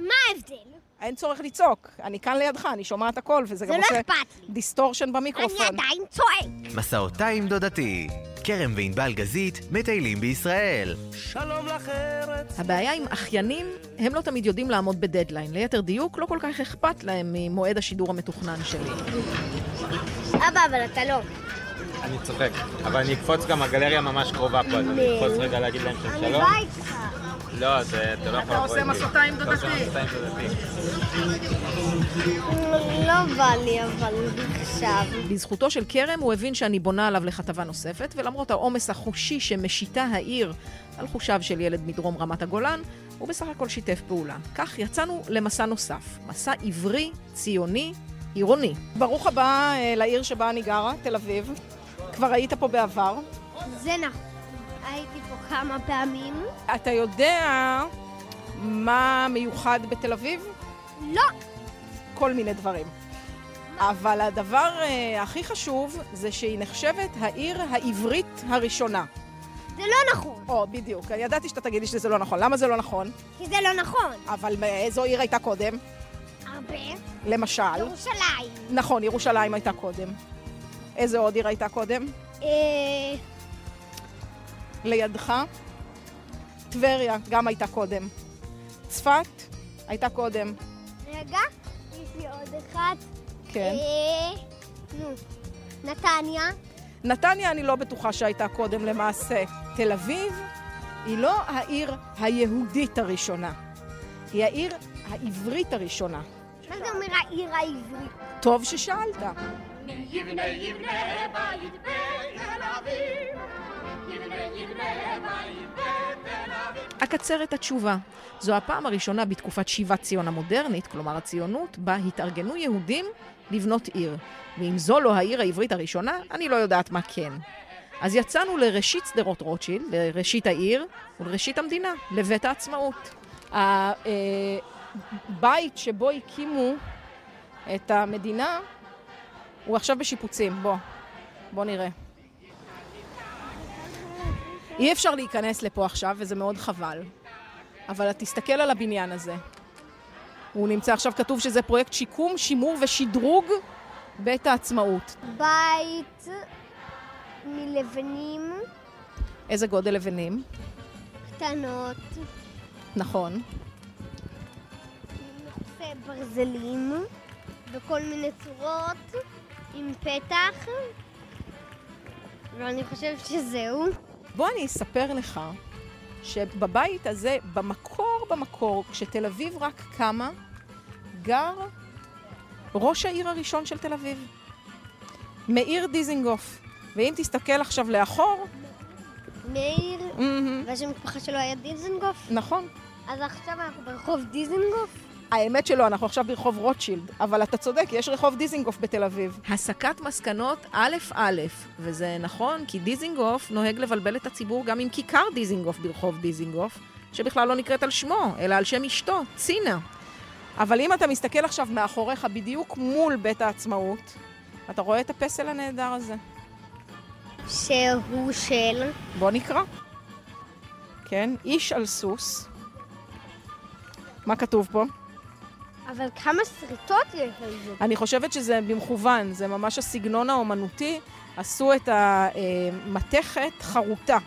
ההבדל? אין צורך לצעוק, אני כאן לידך, אני שומעת הכל, וזה זה גם לא עושה אכפת לי. דיסטורשן אני במיקרופון. עדיין צועק. מסעותה עם דודתי. כרם וענבל גזית מטיילים בישראל. שלום לך ארץ. הבעיה עם אחיינים, הם לא תמיד יודעים לעמוד בדדליין. ליתר דיוק, לא כל כך אכפת להם ממועד השידור המתוכנן שלי. אבא, אבל אתה לא. אני צוחק, אבל אני אקפוץ גם, הגלריה ממש קרובה פה, אז אני אקפוץ רגע להגיד להם שם אני שלום. באה איתך. לא, זה, אתה לא יכול לבוא איתי. מסעותיים אתה עושה מסעותיים דודתי. לא בא לי, אבל עכשיו. בזכותו של כרם הוא הבין שאני בונה עליו לכתבה נוספת, ולמרות העומס החושי שמשיתה העיר על חושיו של ילד מדרום רמת הגולן, הוא בסך הכל שיתף פעולה. כך יצאנו למסע נוסף, מסע עברי, ציוני, עירוני. ברוך הבא אה, לעיר שבה אני גרה, תל אביב. כבר היית פה בעבר. זה נכון. הייתי פה כמה פעמים. אתה יודע מה מיוחד בתל אביב? לא. כל מיני דברים. אבל הדבר אה, הכי חשוב זה שהיא נחשבת העיר העברית הראשונה. זה לא נכון. או, בדיוק. אני ידעתי שאתה תגיד לי שזה לא נכון. למה זה לא נכון? כי זה לא נכון. אבל איזו עיר הייתה קודם? הרבה. למשל. ירושלים. נכון, ירושלים הייתה קודם. איזה עוד עיר הייתה קודם? אה, לידך? טבריה גם הייתה קודם. צפת הייתה קודם. רגע, יש לי עוד אחד. כן. אה, נו, נתניה. נתניה אני לא בטוחה שהייתה קודם למעשה. תל אביב היא לא העיר היהודית הראשונה, היא העיר העברית הראשונה. מה זה אומר העיר העברית? טוב ששאלת. אקצר את התשובה. זו הפעם הראשונה בתקופת שיבת ציון המודרנית, כלומר הציונות, בה התארגנו יהודים לבנות עיר. ואם זו לא העיר העברית הראשונה, אני לא יודעת מה כן. אז יצאנו לראשית שדרות רוטשילד, לראשית העיר ולראשית המדינה, לבית העצמאות. הבית אה, שבו הקימו את המדינה הוא עכשיו בשיפוצים. בוא, בוא נראה. אי אפשר להיכנס לפה עכשיו, וזה מאוד חבל. אבל תסתכל על הבניין הזה. הוא נמצא עכשיו, כתוב שזה פרויקט שיקום, שימור ושדרוג בית העצמאות. בית מלבנים איזה גודל לבנים, קטנות, נכון. מנופי ברזלים, בכל מיני צורות, עם פתח. ואני חושבת שזהו. בוא אני אספר לך שבבית הזה, במקור במקור, כשתל אביב רק קמה, גר ראש העיר הראשון של תל אביב, מאיר דיזינגוף. ואם תסתכל עכשיו לאחור, מאיר, מהמם, והשם המשפחה שלו היה דיזנגוף. נכון. אז עכשיו אנחנו ברחוב דיזנגוף? האמת שלא, אנחנו עכשיו ברחוב רוטשילד, אבל אתה צודק, יש רחוב דיזינגוף בתל אביב. הסקת מסקנות א' א', וזה נכון כי דיזינגוף נוהג לבלבל את הציבור גם עם כיכר דיזינגוף ברחוב דיזינגוף, שבכלל לא נקראת על שמו, אלא על שם אשתו, צינה. אבל אם אתה מסתכל עכשיו מאחוריך, בדיוק מול בית העצמאות, אתה רואה את הפסל הנהדר הזה. שהוא של... בוא נקרא. כן, איש על סוס. מה כתוב פה? אבל כמה שריטות יש על זה? אני חושבת שזה במכוון, זה ממש הסגנון האומנותי. עשו את המתכת חרוטה.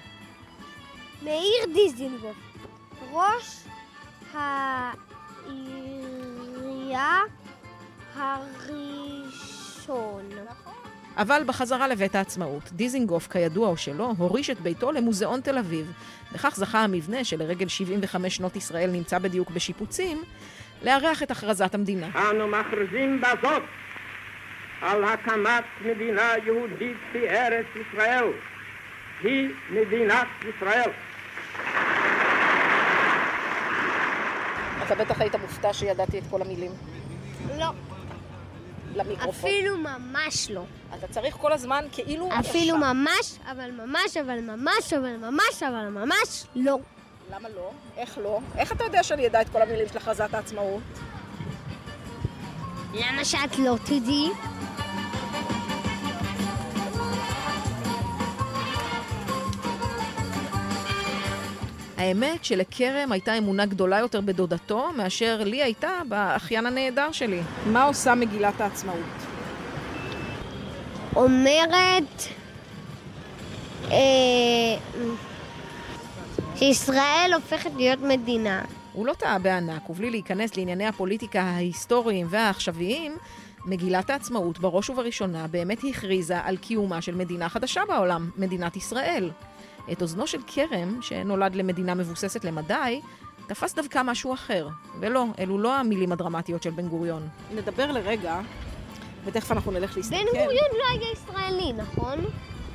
מאיר דיזנגוף, ראש העירייה הראשון. אבל בחזרה לבית העצמאות, דיזינגוף, כידוע או שלא, הוריש את ביתו למוזיאון תל אביב. בכך זכה המבנה, שלרגל 75 שנות ישראל נמצא בדיוק בשיפוצים, לארח את הכרזת המדינה. אנו מכריזים בזאת על הקמת מדינה יהודית בארץ ישראל. היא מדינת ישראל. אתה בטח היית מופתע שידעתי את כל המילים לא, למיקרופון. אפילו ממש לא. אתה צריך כל הזמן כאילו... אפילו ממש, אבל ממש, אבל ממש, אבל ממש, אבל ממש לא. למה לא? איך לא? איך אתה יודע שאני אדע את כל המילים של הכרזת העצמאות? למה שאת לא תדעי? האמת שלכרם הייתה אמונה גדולה יותר בדודתו מאשר לי הייתה באחיין הנהדר שלי. מה עושה מגילת העצמאות? אומרת אה, שישראל הופכת להיות מדינה. הוא לא טעה בענק, ובלי להיכנס לענייני הפוליטיקה ההיסטוריים והעכשוויים, מגילת העצמאות בראש ובראשונה באמת הכריזה על קיומה של מדינה חדשה בעולם, מדינת ישראל. את אוזנו של כרם, שנולד למדינה מבוססת למדי, תפס דווקא משהו אחר. ולא, אלו לא המילים הדרמטיות של בן גוריון. נדבר לרגע, ותכף אנחנו נלך להסתכל. בן גוריון לא היה ישראלי, נכון?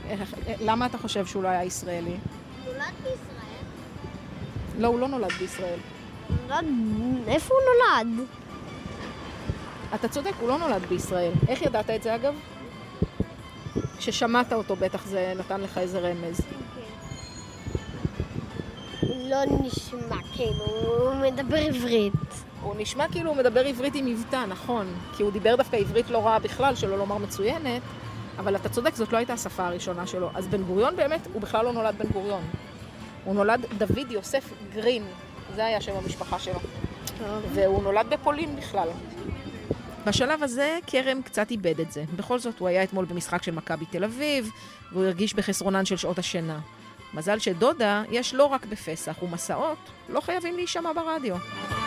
איך- אה, למה אתה חושב שהוא לא היה ישראלי? נולד בישראל. לא, הוא לא נולד בישראל. נולד... איפה הוא נולד? אתה צודק, הוא לא נולד בישראל. איך ידעת את זה אגב? כששמעת אותו בטח זה נתן לך איזה רמז. הוא לא נשמע כאילו, הוא מדבר עברית. הוא נשמע כאילו הוא מדבר עברית עם מבטא, נכון. כי הוא דיבר דווקא עברית לא רעה בכלל, שלא לומר מצוינת, אבל אתה צודק, זאת לא הייתה השפה הראשונה שלו. אז בן גוריון באמת, הוא בכלל לא נולד בן גוריון. הוא נולד דוד יוסף גרין, זה היה שם המשפחה שלו. אוקיי. והוא נולד בפולין בכלל. בשלב הזה, כרם קצת איבד את זה. בכל זאת, הוא היה אתמול במשחק של מכבי תל אביב, והוא הרגיש בחסרונן של שעות השינה. מזל שדודה יש לא רק בפסח, ומסעות לא חייבים להישמע ברדיו.